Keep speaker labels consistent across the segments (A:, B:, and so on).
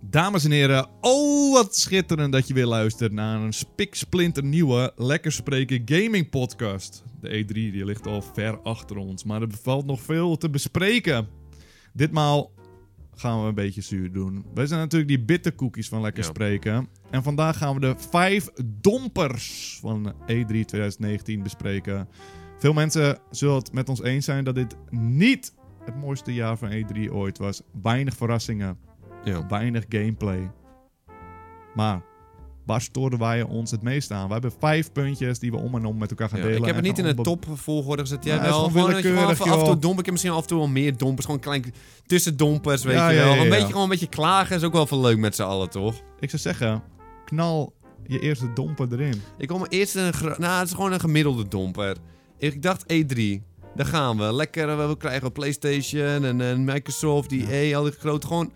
A: Dames en heren, oh wat schitterend dat je weer luistert naar een spiksplinter nieuwe Lekker Spreken Gaming Podcast. De E3 die ligt al ver achter ons, maar er valt nog veel te bespreken. Ditmaal gaan we een beetje zuur doen. Wij zijn natuurlijk die bitterkoekjes van Lekker
B: Ja.
A: Spreken. En vandaag gaan we de vijf dompers van E E3 2019 bespreken. Veel mensen zullen het met ons eens zijn dat dit niet het mooiste jaar van E3 ooit was. Weinig verrassingen
B: Ja.
A: weinig gameplay. Maar waar stoorden wij ons het meest aan? We hebben vijf puntjes die we om en om met elkaar gaan
B: Ja,
A: delen.
B: ik heb het
A: en
B: niet in
A: gaan
B: de
A: onbe-
B: top volgorde gezet.
A: Ja,
B: Ja,
A: het is
B: wel.
A: gewoon
B: Gewoon dat je gewoon
A: willekeurig,
B: af, af en toe
A: joh.
B: domper. Ik heb misschien af en toe wel meer dompers. Gewoon klein tussendompers, weet
A: Ja,
B: je
A: ja,
B: wel.
A: ja,
B: Een
A: ja.
B: beetje, gewoon een beetje klagen is ook wel veel leuk met z'n allen, toch?
A: Ik zou zeggen, knal je eerste domper erin.
B: Ik wil me eerst een... gro- Nou, het is gewoon een gemiddelde domper. Ik dacht E3. Daar gaan we. Lekker, eh, we krijgen PlayStation en, en Microsoft, EA, al die grote... Gewoon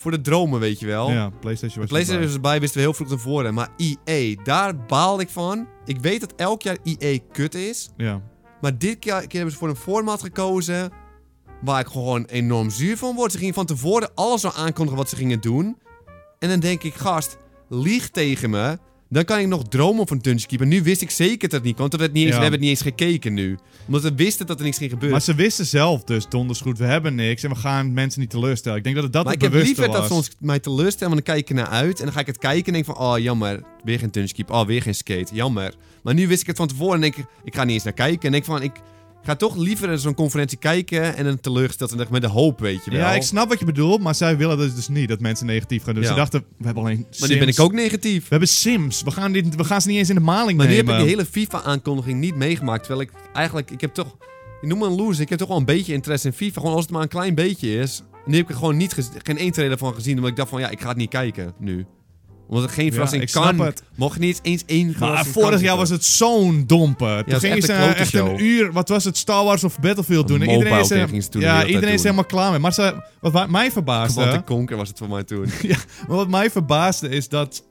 B: voor de dromen, weet je wel.
A: Ja, PlayStation was
B: Oh. PlayStation
A: erbij.
B: was erbij, wisten we heel vroeg tevoren. Maar EA, daar baal ik van. Ik weet dat elk jaar EA kut is.
A: Ja,
B: Maar dit keer, keer hebben ze voor een format gekozen waar ik gewoon enorm zuur van word. Ze gingen van tevoren alles al aankondigen wat ze gingen doen. En dan denk ik, gast, lieg tegen me. Dan kan ik nog dromen van Dungeon Keeper. Nu wist ik zeker dat het niet kwam, want we, hebben het niet eens,
A: Ja.
B: we hebben het niet eens gekeken nu. Omdat we wisten dat er niks ging gebeuren.
A: maar ze wisten zelf dus donders goed, we hebben niks en we gaan mensen niet teleurstellen. Ik denk dat het dat
B: Maar
A: het
B: ik heb
A: bewuste
B: liever dat
A: was.
B: ze ons mij teleurstellen, want dan kijk ik ernaar uit. En dan ga ik het kijken en denk van, oh jammer, weer geen tunchkeep, oh weer geen skate, jammer. Maar nu wist ik het van tevoren en denk ik, ik ga niet eens naar kijken. En denk van, ik ga toch liever naar zo'n conferentie kijken en een teleurgesteld en met de hoop, weet je wel.
A: Ja, ik snap wat je bedoelt, maar zij willen dus, dus niet dat mensen negatief gaan doen.
B: Ja.
A: Ze dachten, we hebben alleen Sims.
B: maar nu ben ik ook negatief.
A: We hebben Sims, we gaan, dit, we gaan ze niet eens in de maling
B: Maar nu
A: nemen.
B: heb ik die hele FIFA-aankondiging niet meegemaakt, terwijl ik eigenlijk, ik heb toch, ik noem me een loser, ik heb toch wel een beetje interesse in FIFA. Gewoon als het maar een klein beetje is. En nu heb ik er gewoon niet, gez- geen één trailer van gezien, omdat ik dacht van, ja, ik ga het niet kijken nu. Omdat er geen verrassing
A: ik snap
B: kan.
A: het.
B: Mocht niet eens één
A: Maar
B: verrassing
A: vorig
B: kans
A: jaar
B: hebben.
A: was het zo'n domper. Toen
B: was
A: gingen
B: echt
A: ze
B: een
A: echt,
B: klote
A: een
B: show.
A: uur, wat was het, Star Wars of Battlefield doen. En
B: Een
A: iedereen is,
B: mobile
A: er-
B: ging ze toen de
A: ja,
B: hele tijd
A: iedereen is
B: doen.
A: helemaal klaar mee. Maar ze, wat wa- mij verbaasde,
B: Wat een konker was het voor mij toen.
A: maar wat mij verbaasde is dat...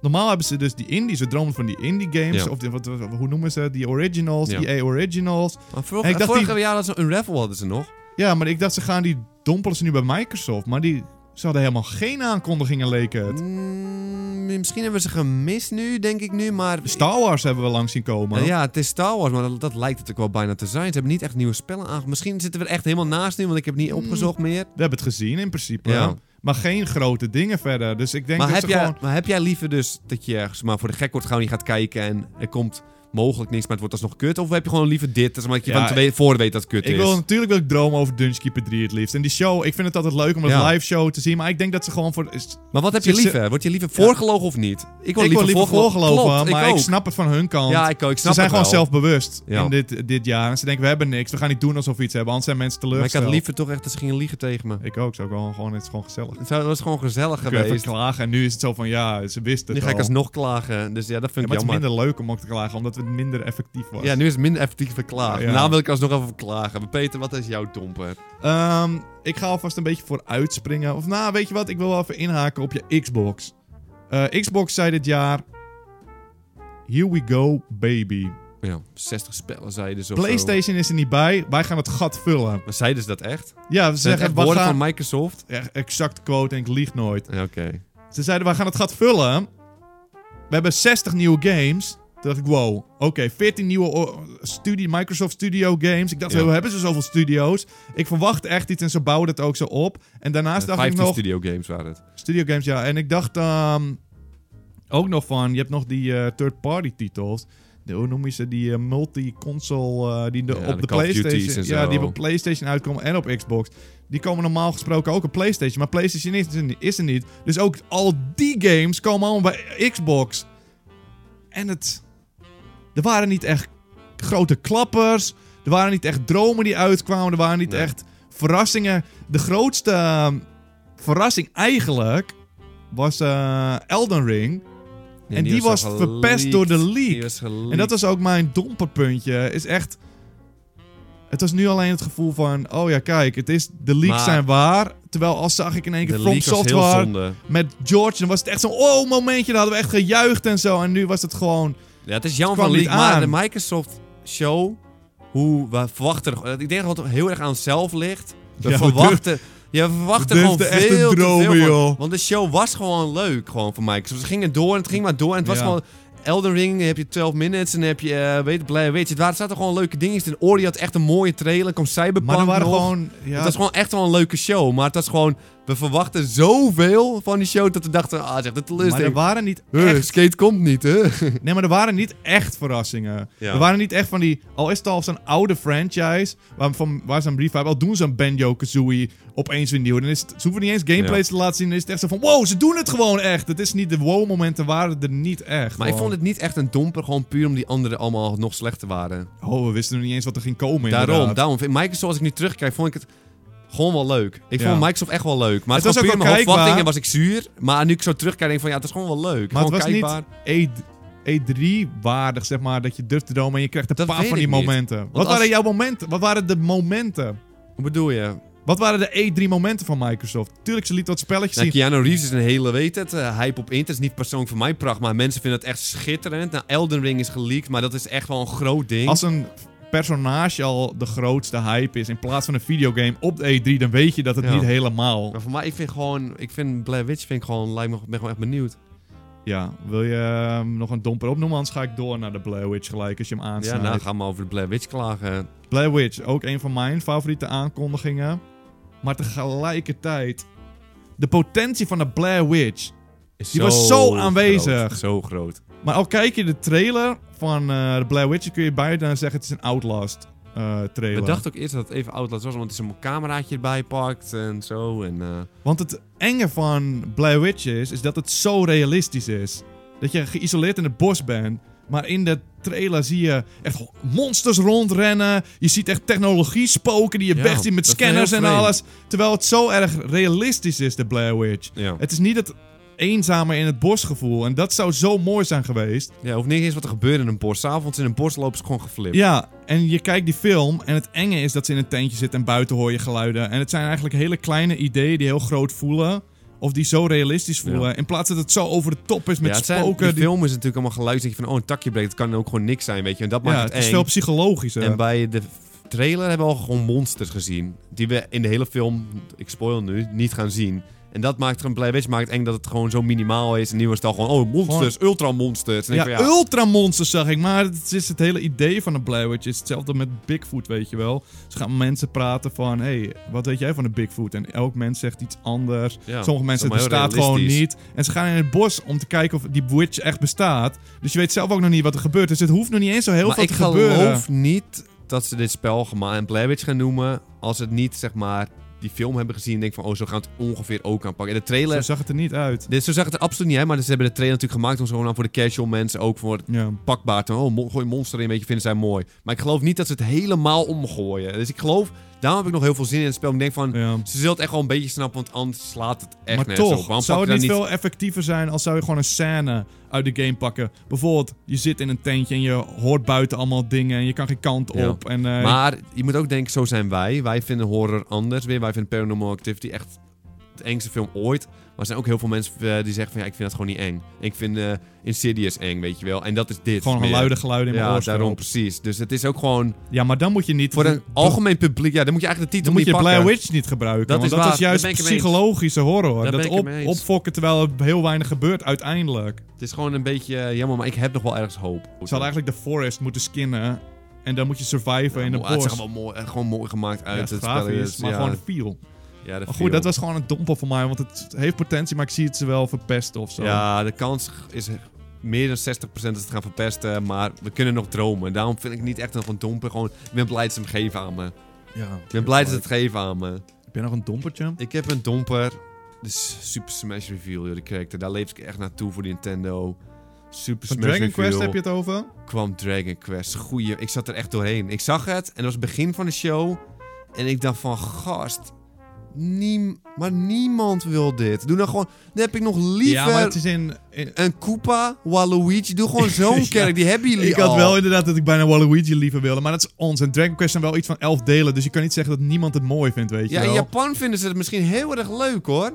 A: Normaal hebben ze dus die indies, we dromen van die indie games.
B: Ja.
A: Of die- wat, wat- hoe noemen ze? Die originals,
B: Ja.
A: die EA originals.
B: Maar
A: Ik dacht
B: vorig
A: die-
B: jaar hadden ze een raffle hadden ze nog.
A: Ja, maar ik dacht ze gaan die dompelen ze nu bij Microsoft. Maar die, ze hadden helemaal geen aankondigingen leken het.
B: Mm, misschien hebben we ze gemist nu, denk ik nu, maar...
A: Star Wars hebben we langs zien komen.
B: Eh, ja, het is Star Wars, maar dat, dat lijkt het ook wel bijna te zijn. Ze hebben niet echt nieuwe spellen aange... Misschien zitten we er echt helemaal naast nu, want ik heb het niet
A: Mm.
B: opgezocht meer.
A: We hebben het gezien in principe.
B: Ja.
A: Maar geen grote dingen verder. Dus ik denk
B: Maar
A: dat
B: heb,
A: ze
B: jij,
A: gewoon...
B: maar heb jij liever dus dat je ergens maar voor de gek wordt gaan en je gaat kijken en er komt mogelijk niks, maar het wordt alsnog kut? Of heb je gewoon liever dit, dat is omdat je
A: Ja,
B: van tevoren weet dat het kut
A: Ik
B: is?
A: wil natuurlijk wil ik dromen over Dungeon Keeper 3 het liefst. En die show, ik vind het altijd leuk om een
B: Ja.
A: live show te zien. Maar ik denk dat ze gewoon voor. is-
B: Maar wat heb je
A: Ze-
B: liever? Word je liever voorgelogen of niet? Ik
A: ik wil liever voorgeloven,
B: Klopt,
A: maar ik,
B: ook.
A: snap het van hun kant.
B: Ja, ik, ook, ik
A: ze
B: snap
A: zijn
B: het
A: gewoon
B: wel.
A: zelfbewust
B: Ja.
A: in dit, dit jaar. En ze denken, we hebben niks. We gaan niet doen alsof we iets hebben. Anders zijn mensen
B: Maar ik
A: teleurgesteld.
B: had liever toch echt dat ze gingen liegen tegen me.
A: Ik ook. Zou ik wel gewoon, het is gewoon gezellig.
B: Het zou- was gewoon gezellig
A: Ik wil even
B: geweest.
A: klagen. En nu is het zo van, ja, ze wisten
B: Nu
A: het
B: ga ik
A: al.
B: alsnog klagen. Dus ja, dat
A: Ja, maar
B: vind ik
A: het is
B: jammer.
A: minder leuk om ook te klagen, omdat het minder effectief was.
B: Ja, nu is het minder effectief verklagen.
A: Ja.
B: Daarna wil ik alsnog even verklagen. Maar Peter, wat is jouw domper?
A: Ehm, ik ga alvast een beetje vooruit springen. Of nou, weet je wat? Ik wil wel even inhaken op je Xbox. Eh, Xbox zei dit jaar... Here we go, baby.
B: Ja, 60 spellen zeiden ze of zo.
A: PlayStation is er niet bij. Wij gaan het gat vullen.
B: Maar zeiden ze dat echt?
A: Ja, ze
B: Zijn het
A: zeggen...
B: echt
A: We
B: woorden
A: gaan...
B: van Microsoft?
A: Ja, Exact quote en ik lieg nooit.
B: Ja, Oké.
A: Ze zeiden, we gaan het gat vullen. We hebben 60 nieuwe games. Toen dacht ik, wow. Oké, 14 nieuwe o- studie, Microsoft Studio games. Ik dacht,
B: Ja.
A: we hebben ze zoveel studio's. Ik verwacht echt iets en ze bouwden het ook zo op. En daarnaast dacht ik
B: 15
A: nog...
B: studio games waren het.
A: Studio Games, ja. En ik dacht ehm, ook nog van, je hebt nog die eh, third-party titels. De, hoe noem je ze? Die eh, multi-console eh, die de,
B: Ja,
A: op de,
B: de Call of Duties
A: PlayStation...
B: en
A: Ja, die
B: zo.
A: op PlayStation uitkomen en op Xbox. Die komen normaal gesproken ook op PlayStation. Maar PlayStation is er, niet- is er niet. Dus ook al die games komen allemaal bij Xbox. En het... Er waren niet echt grote klappers. Er waren niet echt dromen die uitkwamen. Er waren niet
B: Nee.
A: echt verrassingen. De grootste ehm, verrassing eigenlijk was eh, Elden Ring.
B: Ja,
A: en die was
B: al
A: verpest door de
B: geleakt.
A: leak.
B: Die was
A: En dat was ook mijn domperpuntje. Is echt... Het was nu alleen het gevoel van... Oh ja, kijk, het is, de leaks
B: Maar-
A: zijn waar. Terwijl als zag ik in één keer
B: de
A: From
B: leak was heel
A: Software
B: zonde.
A: met George... Dan was het echt zo'n oh momentje. Dan hadden we echt gejuicht en zo. En nu was het gewoon...
B: Ja, het is jammer
A: Het
B: van
A: kwam
B: Leak,
A: niet
B: maar de
A: aan.
B: Microsoft show, hoe we verwachten, er- ik denk dat het heel erg aan onszelf ligt. We
A: Ja, we
B: verwachten, Je verwachtte
A: Dit is
B: gewoon
A: de echte
B: veel te
A: dromen,
B: veel van-
A: joh.
B: Want de show was gewoon leuk gewoon voor Microsoft. Ze gingen door en het ging maar door. En het was
A: Ja.
B: gewoon... Elden Ring, dan heb je 12 minutes en dan heb je... eh, weet, blij, weet je, het waren- er zaten gewoon leuke dingen in. Ori had echt een mooie trailer. Komt Cyberpunk
A: Maar er waren
B: nog.
A: gewoon... Ja,
B: Het was gewoon echt wel een leuke show. Maar het was gewoon... We verwachten zoveel van die show dat we dachten... Ah, zeg, dat
A: maar er
B: teleurstelling.
A: waren niet
B: Huh,
A: echt...
B: skate komt niet, hè?
A: Nee, maar er waren niet echt verrassingen.
B: Ja.
A: Er waren niet echt van die... Al is het al zo'n oude franchise... Waar, van, waar ze een brief hebben... Al doen ze een Banjo-Kazooie opeens weer nieuw. Dan is het, ze hoeven niet eens gameplays te laten zien. Dan is het echt zo van... Wow, ze doen het gewoon echt. Het is niet... De wow-momenten waren er niet echt.
B: Maar ik vond het niet echt een domper. Gewoon puur om die anderen allemaal nog slechter waren.
A: Oh, we wisten nog niet eens wat er ging komen
B: Daarom,
A: inderdaad.
B: daarom. vind- Microsoft, als ik nu terugkijk, vond ik het gewoon wel leuk. Ik
A: Ja.
B: vond Microsoft echt wel leuk. Maar het,
A: Het was
B: was gewoon
A: ook
B: puur
A: wel
B: mijn verwachtingen was
A: kijkbaar.
B: ik zuur. Maar nu ik zo terugkijk, denk ik van ja, het is gewoon wel leuk.
A: Maar het
B: gewoon
A: was
B: kijkbaar.
A: niet E E3 waardig, zeg maar, dat je durft te dromen en je krijgt een
B: Dat
A: paar
B: weet
A: van
B: ik
A: die
B: niet.
A: momenten. Wat
B: als-
A: waren jouw momenten? Wat waren de momenten?
B: Hoe bedoel je?
A: Wat waren de E3 momenten van Microsoft? Tuurlijk, ze liet wat spelletjes
B: Nou,
A: zien.
B: Keanu Reeves is een hele, weet het, eh, hype op internet. is niet persoonlijk voor mij pracht, maar mensen vinden het echt schitterend. Nou, Elden Ring is geleakt, maar dat is echt wel een groot ding.
A: Als een personage al de grootste hype is in plaats van een videogame op de E3, dan weet je dat het
B: Ja.
A: niet helemaal...
B: Maar voor mij, ik vind gewoon, ik vind Blair Witch vind ik gewoon, lijkt me, ben gewoon echt benieuwd.
A: Ja, wil je ehm, nog een domper opnoemen? Anders ga ik door naar de Blair Witch gelijk als je hem
B: Ja,
A: aansnijdt.
B: nou, ga maar over de Blair Witch klagen.
A: Blair Witch, ook een van mijn favoriete aankondigingen. Maar tegelijkertijd, de potentie van de Blair Witch.
B: Is
A: Die was zo aanwezig.
B: groot, zo groot.
A: Maar al kijk je de trailer van eh, de Blair Witch, dan kun je bijna zeggen het is een Outlast eh, trailer.
B: We dachten ook eerst dat het even Outlast was, want er is een cameraatje erbij pakt en zo. En, eh,
A: Want het enge van Blair Witch is, is dat het zo realistisch is. Dat je geïsoleerd in het bos bent. Maar in de trailer zie je echt monsters rondrennen. Je ziet echt technologie spoken die je
B: Ja,
A: wegziet met
B: dat is wel
A: scanners
B: heel
A: en
B: vreemd.
A: alles. Terwijl het zo erg realistisch is, de Blair Witch.
B: ja.
A: Het is niet het eenzame in het bos gevoel. En dat zou zo mooi zijn geweest.
B: ja, hoeft niet eens wat er gebeurt in een bos. S'avonds in een bos lopen ze gewoon geflipt.
A: Ja, en je kijkt die film en het enge is dat ze in een tentje zitten en buiten hoor je geluiden. En het zijn eigenlijk hele kleine ideeën die heel groot voelen. Of die zo realistisch voelen. In plaats dat het zo over de top is met
B: Ja, het zijn-
A: spoken.
B: die
A: die-
B: film is natuurlijk allemaal geluid. Dat je van, oh, een takje breekt. Het kan ook gewoon niks zijn, weet je. En dat maakt
A: ja,
B: het
A: het
B: eng.
A: is veel psychologischer.
B: En bij de f- trailer hebben we al gewoon monsters gezien. Die we in de hele film, ik spoil nu, niet gaan zien. En dat maakt gewoon Blair Witch maakt eng dat het gewoon zo minimaal is. En nu was het al gewoon, oh, monsters, ultramonsters. En
A: ja,
B: ik van,
A: ultramonsters zag ik, maar het is het hele idee van de Blair Witch. Het is hetzelfde met Bigfoot, weet je wel. Ze gaan mensen praten van, hé, hey, wat weet jij van de Bigfoot? En elk mens zegt iets anders.
B: Ja,
A: Sommige mensen, het
B: dat is allemaal
A: bestaat
B: heel
A: gewoon
B: realistisch.
A: niet. En ze gaan in het bos om te kijken of die witch echt bestaat. Dus je weet zelf ook nog niet wat er gebeurt. Dus het hoeft nog niet eens zo heel
B: maar
A: veel
B: ik
A: te
B: geloof
A: gebeuren.
B: niet dat ze dit spel gemaakt en Blair Witch gaan noemen. Als het niet, zeg maar, die film hebben gezien. En denk van, oh, zo gaan we het ongeveer ook aanpakken. En de
A: Zo
B: trailer...
A: zag het er niet uit.
B: Dit, zo zag het er absoluut niet uit, maar ze hebben de trailer natuurlijk gemaakt om zo gewoon voor de casual mensen ook voor
A: Ja.
B: pakbaar. Toen, oh, mo- gooi een monster in, weet je, vinden zij mooi. Maar ik geloof niet dat ze het helemaal omgooien. Dus ik geloof, daarom heb ik nog heel veel zin in het spel. Ik denk van,
A: Ja.
B: ze zullen het echt wel een beetje snappen, want anders slaat het echt
A: maar
B: nergens op.
A: toch,
B: Waarom
A: zou
B: pak
A: het
B: je
A: niet
B: dan
A: veel effectiever zijn als zou je gewoon een scène uit de game pakken? Bijvoorbeeld, je zit in een tentje en je hoort buiten allemaal dingen en je kan geen kant
B: Ja.
A: op. En, eh,
B: Maar je moet ook denken, zo zijn wij. Wij vinden horror anders weer. Wij vinden Paranormal Activity echt het engste film ooit. Maar er zijn ook heel veel mensen eh, die zeggen van, ja, ik vind dat gewoon niet eng. Ik vind eh, Insidious eng, weet je wel. En dat is dit
A: gewoon een
B: weer.
A: luide geluid in mijn
B: Ja,
A: oorspel.
B: daarom precies. Dus het is ook gewoon
A: Ja, maar dan moet je niet...
B: voor een
A: dan-
B: algemeen publiek. Ja, dan moet je eigenlijk de
A: Hm. Dan
B: titel
A: moet je
B: niet pakken.
A: Blair Witch niet gebruiken.
B: Dat
A: want
B: is
A: dat
B: waar,
A: is
B: daar ben
A: juist
B: ik het mee eens.
A: psychologische horror.
B: Daar
A: dat
B: ben ik het
A: op,
B: mee eens.
A: opfokken terwijl er heel weinig gebeurt uiteindelijk.
B: Het is gewoon een beetje eh, jammer, maar ik heb nog wel ergens hoop.
A: Ze hadden eigenlijk de forest moeten skinnen. En dan moet je surviven in de
B: Ja, Het zag
A: bos.
B: er wel mooi, eh, gewoon mooi gemaakt
A: Ja,
B: uit.
A: het
B: het
A: grafisch,
B: spel,
A: maar
B: ja,
A: gewoon een feel.
B: ja, de
A: Maar
B: feel.
A: goed, dat was gewoon een domper voor mij. Want het heeft potentie, maar ik zie het ze wel verpesten of zo.
B: Ja, de kans is meer dan 60% dat ze het gaan verpesten, maar we kunnen nog dromen. Daarom vind ik niet echt nog een domper. Gewoon, ik ben blij dat ze hem geven aan me.
A: Ja.
B: Ik ben blij dat ze het geven aan me.
A: Heb jij nog een dompertje?
B: Ik heb een domper. De S- Super Smash Reveal, joh, die character. Daar leef ik echt naartoe voor Nintendo. Super
A: Van
B: Smash
A: Dragon
B: Reveal.
A: Quest heb je het over?
B: kwam Dragon Quest. Goeie, ik zat er echt doorheen. Ik zag het en dat was het begin van de show. En ik dacht van, gast, niem- maar niemand wil dit. Doe dan gewoon, dan heb ik nog liever
A: Ja, maar het is in... in-
B: een Koopa, Waluigi. Doe gewoon zo'n
A: Ja.
B: kerk, die hebben jullie
A: ik had
B: al.
A: wel inderdaad dat ik bijna Waluigi liever wilde, maar dat is onzin. Dragon Quest zijn wel iets van elf delen, dus je kan niet zeggen dat niemand het mooi vindt, weet je
B: ja, in
A: wel.
B: Japan vinden ze het misschien heel erg leuk, hoor.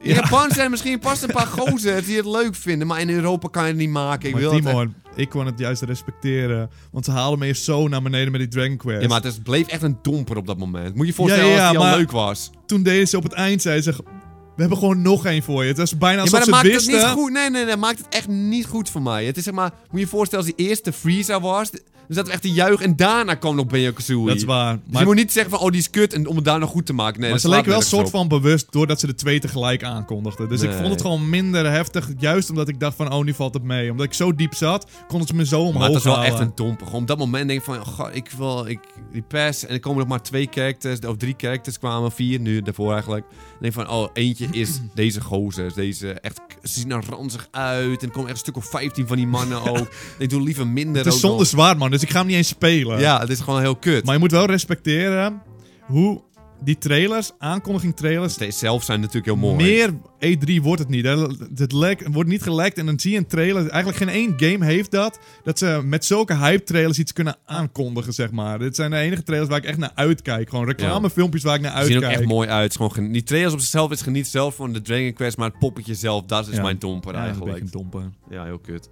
B: In
A: Ja.
B: Japan zijn er misschien pas een paar gozers die het leuk vinden, maar in Europa kan je het niet maken. Ik
A: maar
B: wil het echt-
A: Timon, Ik kon het juist respecteren. Want ze haalden me eerst zo naar beneden met die Dragon Quest.
B: Ja, maar het is- bleef echt een domper op dat moment. Moet je je voorstellen
A: Ja, ja,
B: als die
A: maar-
B: al leuk was.
A: Toen deden ze op het eind, zei ze... We hebben gewoon nog één voor je. Het was bijna
B: Ja,
A: alsof
B: maar dat maakt
A: ze
B: het niet
A: wisten...
B: goed. Nee, nee, nee, dat maakt het echt niet goed voor mij. Het is zeg maar, moet je je voorstellen als die eerste Freezer was. Dan zaten we echt te juichen en daarna kwam nog Banjo Kazooie.
A: dat is waar.
B: Dus
A: Maar,
B: je moet niet zeggen van, oh die is kut en om het daar nog goed te maken. Nee,
A: maar
B: dat
A: ze leken
B: slaat
A: wel
B: nergens
A: soort
B: op.
A: van bewust doordat ze de twee tegelijk aankondigden. Dus ik
B: Nee.
A: vond het gewoon minder heftig. Juist omdat ik dacht van, oh, nu valt het mee. Omdat ik zo diep zat, konden ze me zo omhoog
B: Maar dat is wel
A: halen.
B: echt een domper. Gewoon op dat moment denk ik van, goh, ik wil ik, die pass. En er komen nog maar twee characters, of drie characters kwamen, vier nu daarvoor eigenlijk. En denk van, oh, eentje is deze gozer. is Deze echt, ze zien er ranzig uit. En er komen echt een stuk of 15 van die mannen ook. Ik doe liever minder
A: Het is
B: ook
A: zonder zwaard, man. Dus ik ga hem niet eens spelen.
B: nog. Ja, het is gewoon heel kut.
A: Maar je moet wel respecteren hoe die trailers, aankondiging trailers...
B: Ze zelf zijn natuurlijk heel mooi.
A: Meer E3 wordt het niet. Hè. Het lek- wordt niet gelekt en dan zie je een trailer. Eigenlijk geen één game heeft dat. Dat ze met zulke hype trailers iets kunnen aankondigen, zeg maar. Dit zijn de enige trailers waar ik echt naar uitkijk. Gewoon reclamefilmpjes waar ik naar
B: Ze zien er ook
A: uitkijk.
B: echt mooi uit. Het is Gewoon gen- die trailers op zichzelf is geniet zelf van de Dragon Quest, maar het poppetje zelf, dat is
A: Ja.
B: mijn
A: Ja, dat
B: domper
A: ben
B: eigenlijk.
A: ik een domper.
B: Ja, heel kut.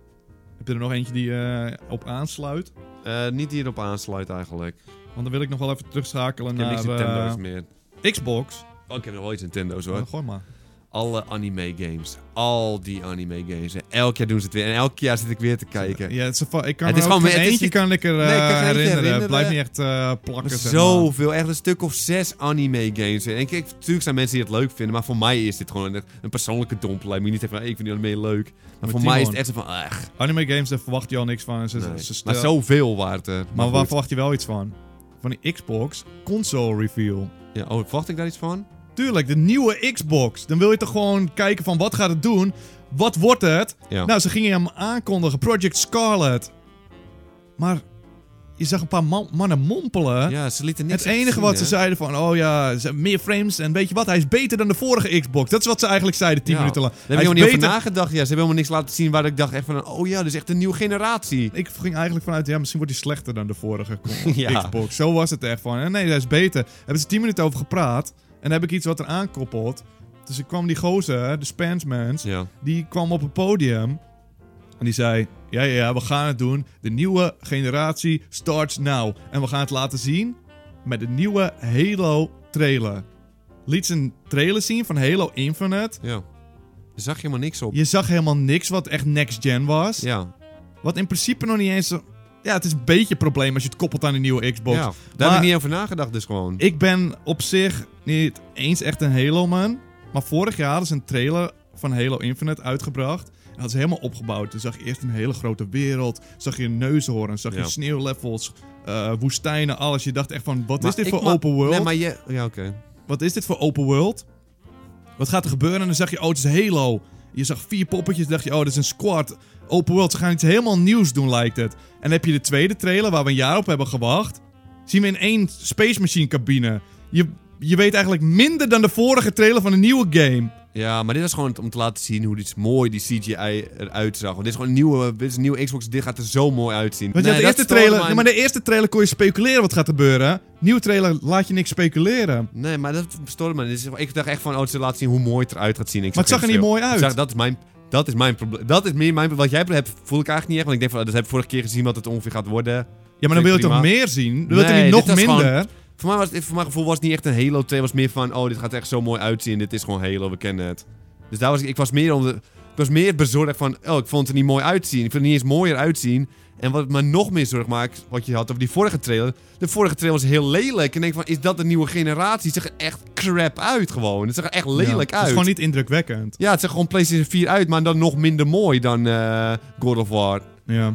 A: Heb je er nog eentje die eh, op aansluit?
B: Eh, niet hierop aansluit eigenlijk. Ik
A: Want dan wil ik nog wel even terugschakelen
B: heb
A: naar
B: niks Nintendo's
A: eh,
B: meer.
A: Xbox.
B: Oh, ik heb nog wel iets Nintendo's hoor.
A: Nou, gooi maar.
B: Alle anime games. Al die anime games. En elk jaar doen ze het weer. En elk jaar zit ik weer te kijken.
A: Ja, het is, een- ik kan
B: Het
A: er ook
B: is gewoon-
A: geen
B: het is
A: eentje
B: niet-
A: kan ik er,
B: Nee, ik kan
A: eh,
B: geen eentje
A: herinneren.
B: herinneren.
A: Blijf niet echt eh, plakken, zeg maar.
B: Zoveel, echt een stuk of zes anime games. En kijk, natuurlijk zijn mensen die het leuk vinden, maar voor mij is dit gewoon een, een persoonlijke dompel. Ik moet niet zeggen van, hey, ik vind die anime leuk. Maar,
A: Maar
B: voor mij is
A: Timon.
B: het echt zo van, ach,
A: Anime games, daar verwacht je al niks van. Ze,
B: nee.
A: Dus ze stel-
B: Maar zoveel waard. eh.
A: Maar
B: goed.
A: waar verwacht je wel iets van? Van die Xbox console reveal.
B: Ja, oh, verwacht ik daar iets van?
A: Tuurlijk, de nieuwe Xbox. Dan wil je toch gewoon kijken van wat gaat het doen? Wat wordt het?
B: Ja.
A: Nou, ze gingen hem aankondigen. Project Scarlet. Maar je zag een paar man- mannen mompelen.
B: ja, ze lieten niks
A: Het
B: echt
A: enige
B: zien,
A: wat ze
B: hè?
A: zeiden van, oh ja, ze- meer frames en weet je wat, hij is beter dan de vorige Xbox. Dat is wat ze eigenlijk zeiden 10
B: Ja.
A: minuten lang.
B: Daar
A: Hij
B: heb ik
A: is
B: helemaal niet over
A: beter-
B: nagedacht. Ja, ze hebben helemaal niks laten zien waar ik dacht echt van, oh ja, dit is echt een nieuwe generatie.
A: Ik ging eigenlijk vanuit, ja, misschien wordt hij slechter dan de vorige
B: Ja.
A: Xbox. Zo was het echt van. eh, Nee, hij is beter. Daar hebben ze 10 minuten over gepraat. En daar heb ik iets wat eraan koppelt. Dus ik kwam die gozer, de Spansmans,
B: Ja.
A: die kwam op het podium. En die zei, ja, ja, ja, we gaan het doen. De nieuwe generatie starts now. En we gaan het laten zien met de nieuwe Halo trailer. Liet ze een trailer zien van Halo Infinite.
B: Ja. Daar zag je helemaal niks op.
A: Je zag helemaal niks wat echt next-gen was.
B: Ja.
A: Wat in principe nog niet eens. zo- Ja, het is een beetje een probleem als je het koppelt aan de nieuwe Xbox.
B: Ja, daar
A: Maar-
B: heb ik niet over nagedacht dus gewoon.
A: Ik ben op zich niet eens echt een Halo-man. Maar vorig jaar hadden ze een trailer van Halo Infinite uitgebracht. En hadden ze helemaal opgebouwd. Toen zag je eerst een hele grote wereld. Zag je neushoorns, zag
B: Ja.
A: je sneeuwlevels, eh, woestijnen, alles. Je dacht echt van, wat
B: Maar
A: is dit
B: ik
A: voor
B: ma-
A: open world?
B: Nee, maar je... Ja, oké.
A: Wat is dit voor open world? Wat gaat er gebeuren? En dan zag je, oh, het is Halo. Je zag vier poppetjes, dacht je, oh, dit is een squad. Open world, ze gaan iets helemaal nieuws doen, lijkt het. En dan heb je de tweede trailer, waar we een jaar op hebben gewacht. Zien we in één Space Machine cabine. Je, je weet eigenlijk minder dan de vorige trailer van een nieuwe game.
B: Ja, maar dit was gewoon om te laten zien hoe dit mooi die CGI eruit zag. Want dit is gewoon een nieuwe, dit is een nieuwe Xbox, dit gaat er zo mooi uitzien.
A: Want je
B: Nee,
A: had de
B: dat
A: eerste trailer,
B: stoorde
A: ja,
B: mij-
A: maar de eerste trailer kon je speculeren wat gaat gebeuren. Nieuwe trailer laat je niks speculeren.
B: Nee, maar dat stoorde me. Dit is- Ik dacht echt van, oh, ze laten zien hoe mooi het eruit gaat zien. Ik
A: Maar het
B: zeg,
A: zag er niet
B: veel.
A: mooi
B: Ik
A: uit.
B: Zag, dat is mijn... Dat is mijn probleem. Dat is meer mijn probleem. Wat jij hebt, voel ik eigenlijk niet echt. Want ik denk van, oh, dat heb ik vorige keer gezien wat het ongeveer gaat worden.
A: Ja, maar dan
B: Vind
A: wil je
B: ik
A: toch
B: prima.
A: meer zien? Dan wil je toch
B: Nee,
A: niet nog
B: dit was
A: minder?
B: gewoon- Voor, mij was het, voor mijn gevoel was het niet echt een Halo 2. Het was meer van, oh, dit gaat er echt zo mooi uitzien. Dit is gewoon Halo, we kennen het. Dus daar was ik, ik was meer om de, ik was meer bezorgd van, oh, ik vond het er niet mooi uitzien. Ik vond het niet eens mooier uitzien. En wat me nog meer zorg maakt, wat je had over die vorige trailer. De vorige trailer was heel lelijk. En ik denk van, is dat de nieuwe generatie? Het zag er echt crap uit gewoon. Het zag er echt
A: Ja, Het
B: lelijk
A: is
B: uit.
A: gewoon niet indrukwekkend.
B: Ja, het zag gewoon PlayStation 4 uit, maar dan nog minder mooi dan eh, God of War.
A: Ja.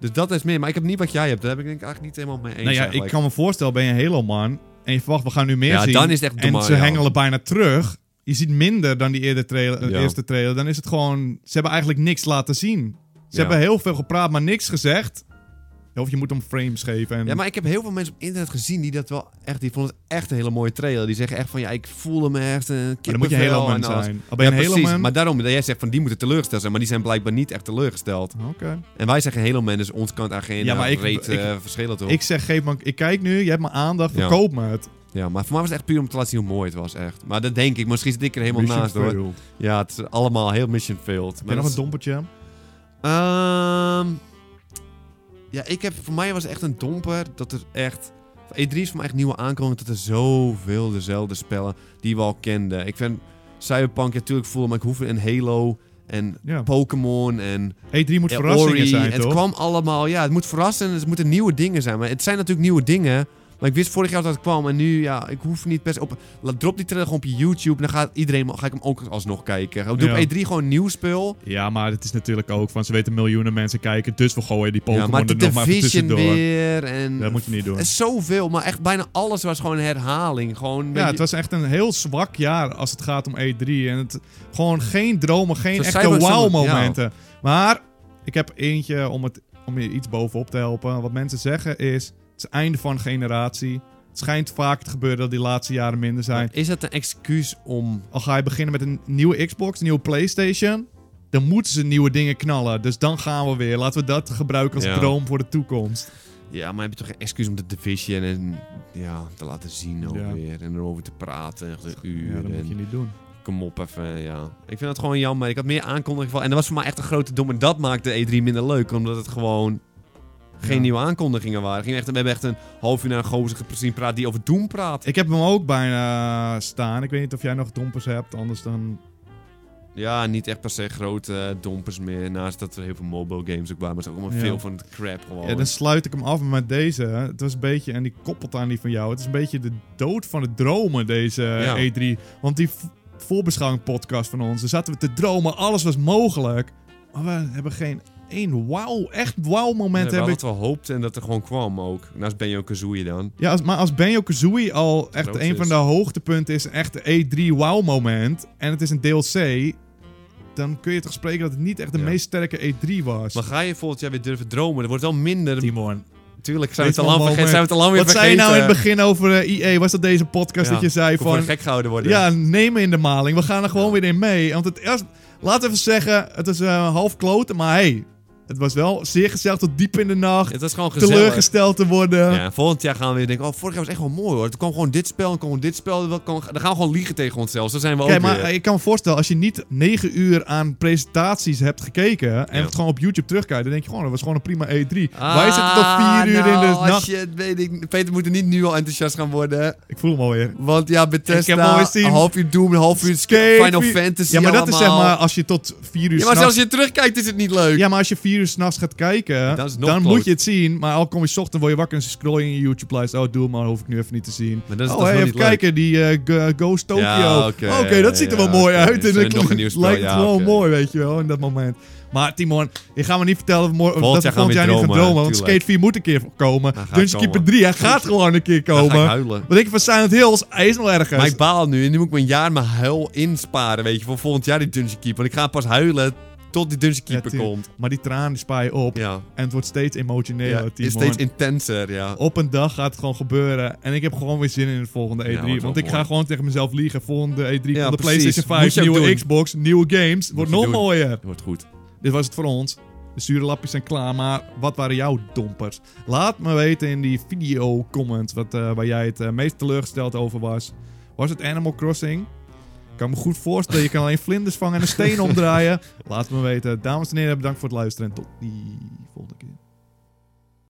B: Dus dat is meer. Maar ik heb niet wat jij hebt. Daar heb ik denk ik eigenlijk niet helemaal mee eens
A: Nou ja,
B: eigenlijk.
A: ik kan me voorstellen, ben je een Halo-man en je verwacht, we gaan nu meer
B: Ja,
A: zien.
B: dan is het echt
A: En
B: dommer,
A: ze
B: ja.
A: hengelen bijna terug. Je ziet minder dan die eerder trailer, eh,
B: Ja.
A: eerste trailer. Dan is het gewoon, ze hebben eigenlijk niks laten zien. Ze
B: Ja.
A: hebben heel veel gepraat, maar niks gezegd. Of je moet hem frames geven. En...
B: Ja, maar ik heb heel veel mensen op internet gezien die dat wel echt... Die vonden het echt een hele mooie trailer. Die zeggen echt van, ja, ik voelde me echt een
A: Maar dan moet je Halo-man zijn. Al ben je
B: ja,
A: een
B: precies.
A: Halo-man...
B: Maar daarom, jij zegt van, die moeten teleurgesteld zijn. Maar die zijn blijkbaar niet echt teleurgesteld.
A: Oké.
B: En wij zeggen Halo-man, dus ons kant aan geen
A: Ja, maar
B: eh,
A: ik-
B: reet
A: ik-
B: eh, verschillen toch?
A: Ik zeg, geef me, ik kijk nu, je hebt mijn aandacht,
B: Ja.
A: verkoop me het.
B: Ja, maar voor mij was het echt puur om te laten zien hoe mooi het was, echt. Maar dat denk ik, misschien zit ik er helemaal naast, hoor.
A: Heb
B: Ja, het is allemaal heel mission failed.
A: je
B: Maar
A: nog
B: dat
A: een
B: is-
A: dompeltje?
B: Ehm, Ja, ik heb, voor mij was het echt een domper dat er echt... E3 is voor mij echt nieuwe aankomend dat er zoveel dezelfde spellen die we al kenden. Ik vind Cyberpunk ja, natuurlijk voelen, maar ik hoef een Halo en
A: Ja.
B: Pokémon en
A: E3 moet
B: ja,
A: verrassingen
B: Ori.
A: zijn,
B: Het
A: toch?
B: kwam allemaal, ja, het moet verrassen en het moeten nieuwe dingen zijn. Maar het zijn natuurlijk nieuwe dingen. Maar ik wist vorig jaar dat het kwam en nu, ja, ik hoef niet best op... Laat, drop die trailer gewoon op je YouTube, dan gaat iedereen, ga ik hem ook alsnog kijken. Doe
A: Ja.
B: op E3 gewoon nieuw spul.
A: Ja, maar het is natuurlijk ook van ze weten miljoenen mensen kijken, dus we gooien die Pokémon
B: ja, maar
A: er nog maar even
B: Division
A: tussendoor.
B: weer en...
A: Dat moet je niet doen.
B: Er is zoveel, maar echt bijna alles was gewoon herhaling. Gewoon een
A: Ja,
B: beetje-
A: het was echt een heel zwak jaar als het gaat om E3. En het, gewoon geen dromen, geen
B: Zo'n
A: echte
B: cyber-
A: wow-momenten. Maar ik heb eentje om, het, om je iets bovenop te helpen. Wat mensen zeggen is, het is einde van een generatie. Het schijnt vaak te gebeuren dat die laatste jaren minder zijn.
B: Is dat een excuus om...
A: Al ga je beginnen met een nieuwe Xbox, een nieuwe Playstation... dan moeten ze nieuwe dingen knallen. Dus dan gaan we weer. Laten we dat gebruiken als
B: Ja.
A: droom voor de toekomst.
B: Ja, maar heb je toch een excuus om de Division en ja, te laten zien ook
A: Ja.
B: weer. En erover te praten, echt een uur.
A: Ja, dat
B: en
A: moet je niet doen.
B: Kom op even, ja. Ik vind dat gewoon jammer. Ik had meer aankondigingen van... En dat was voor mij echt een grote dom. En dat maakte E3 minder leuk, omdat het gewoon... Geen
A: Ja.
B: nieuwe aankondigingen waren. Ging echt, we hebben echt een half uur naar een gozer gezien praat die over Doom praat.
A: Ik heb hem ook bijna staan. Ik weet niet of jij nog dompers hebt, anders dan
B: Ja, niet echt per se grote eh, dompers meer. Naast dat er heel veel mobile games ook waren. Maar het is ook allemaal
A: Ja.
B: veel van het crap gewoon.
A: Ja, dan sluit ik hem af met deze. Het was een beetje, en die koppelt aan die van jou. Het is een beetje de dood van het dromen, deze
B: Ja.
A: E3. Want die v- voorbeschouwing podcast van ons, daar zaten we te dromen. Alles was mogelijk. Maar we hebben geen één wauw, echt wauw moment.
B: Ja,
A: hebben.
B: we hadden wel hoopte en dat er gewoon kwam ook. Naast Benjo Kazooie dan.
A: Ja, als, maar als Benjo Kazooie al echt
B: Groot
A: een
B: is.
A: van de hoogtepunten is, echt de E3 wow moment. En het is een DLC. Dan kun je toch spreken dat het niet echt de
B: Ja.
A: meest sterke E3 was.
B: Maar ga je volgend jaar weer durven dromen? Er wordt wel minder.
A: Timon.
B: Tuurlijk zijn we het
A: Dit
B: al lang
A: moment.
B: vergeten. Zijn we het al lang weer
A: Wat zei je
B: vergeten.
A: nou in het begin over IE? Was dat deze podcast
B: Ja,
A: dat je zei
B: Ik kon voor
A: van...
B: de gek gehouden worden.
A: Ja, neem me in de maling. We gaan er gewoon
B: Ja.
A: weer in mee. Want het eerst... Laten we even zeggen, het is eh, half kloten, maar hey... Het was wel zeer gezellig tot diep in de nacht.
B: Het was gewoon gezellig.
A: teleurgesteld te worden.
B: Ja, volgend jaar gaan we weer denken, oh, vorig jaar was echt wel mooi hoor. Er kwam gewoon dit spel, en kwam gewoon dit spel. Dan gaan we gewoon liegen tegen onszelf. Zo zijn we
A: Kijk,
B: ook
A: maar
B: weer.
A: eh, ik kan me voorstellen, als je niet negen uur aan presentaties hebt gekeken... en
B: Ja.
A: het gewoon op YouTube terugkijkt, dan denk je gewoon... dat was gewoon een prima E E3.
B: Ah,
A: Wij zitten tot vier uur
B: nou,
A: in de
B: als
A: nacht.
B: je het weet, ik, Peter moet er niet nu al enthousiast gaan worden.
A: Ik voel hem alweer.
B: Want ja, Bethesda,
A: Ik heb al eens zien.
B: een half uur Doom, een half uur
A: Escape,
B: Final
A: vier-
B: Fantasy
A: Ja, maar dat is zeg
B: allemaal.
A: maar als je tot vier uur
B: Ja, maar
A: s'nachts-
B: zelfs als je terugkijkt is het niet leuk.
A: Ja, maar als je vier uur s'nachts gaat kijken,
B: Dat is nog
A: dan
B: kloot.
A: moet je het zien. Maar al kom je 's ochtend, word je wakker en ze scrollen in je YouTube-lijst. Oh, doe maar, hoef ik nu even niet te zien.
B: Maar dat is
A: oh,
B: toch
A: hey,
B: wel
A: even
B: niet leuk?
A: kijken, die eh, Go- Ghost Tokyo.
B: Ja,
A: oké,
B: oké,
A: dat ziet er wel
B: ja,
A: mooi
B: oké.
A: uit. En
B: Is er
A: het
B: nog een nieuw spel?
A: lijkt het
B: Ja,
A: gewoon
B: oké.
A: mooi, weet je wel, in dat moment. Maar Timon, je gaat me niet vertellen dat we
B: Volgend
A: volgend
B: jaar
A: jaar
B: gaan we
A: niet
B: weer
A: gaan
B: dromen,
A: dromen. Want
B: tuurlijk.
A: Skate 4 moet een keer komen.
B: Hij gaat
A: Dungeon Keeper
B: komen.
A: 3, hij gaat gewoon een keer
B: Dan ga ik
A: komen.
B: huilen.
A: Wat denk je van Silent Hills? Hij is nog ergens.
B: Maar ik baal nu en nu moet ik mijn jaar mijn huil insparen, weet je, voor volgend jaar die Dungeon Keeper. Want ik ga pas huilen tot die Dungeon
A: Ja,
B: Keeper
A: tuurlijk.
B: komt.
A: Maar die tranen die spaar je op.
B: Ja.
A: En het wordt steeds emotioneler,
B: Ja,
A: Timon.
B: is steeds intenser, ja. Oh,
A: op een dag gaat het gewoon gebeuren. En ik heb gewoon weer zin in het volgende
B: Ja,
A: E3.
B: wordt wel
A: want ik
B: mooi.
A: ga gewoon tegen mezelf liegen. Volgende E3
B: Ja,
A: van de
B: precies.
A: PlayStation
B: Moet
A: 5,
B: je ook
A: nieuwe
B: doen.
A: Xbox, nieuwe games. Wordt
B: je
A: nog
B: doen.
A: mooier.
B: Wordt goed.
A: Dit was het voor ons. De zure lapjes zijn klaar, maar wat waren jouw dompers? Laat me weten in die video comments wat, eh, waar jij het eh, meest teleurgesteld over was. Was het Animal Crossing? Ik kan me goed voorstellen, je kan alleen vlinders vangen en een steen omdraaien. Laat me weten. Dames en heren, bedankt voor het luisteren en tot die volgende keer.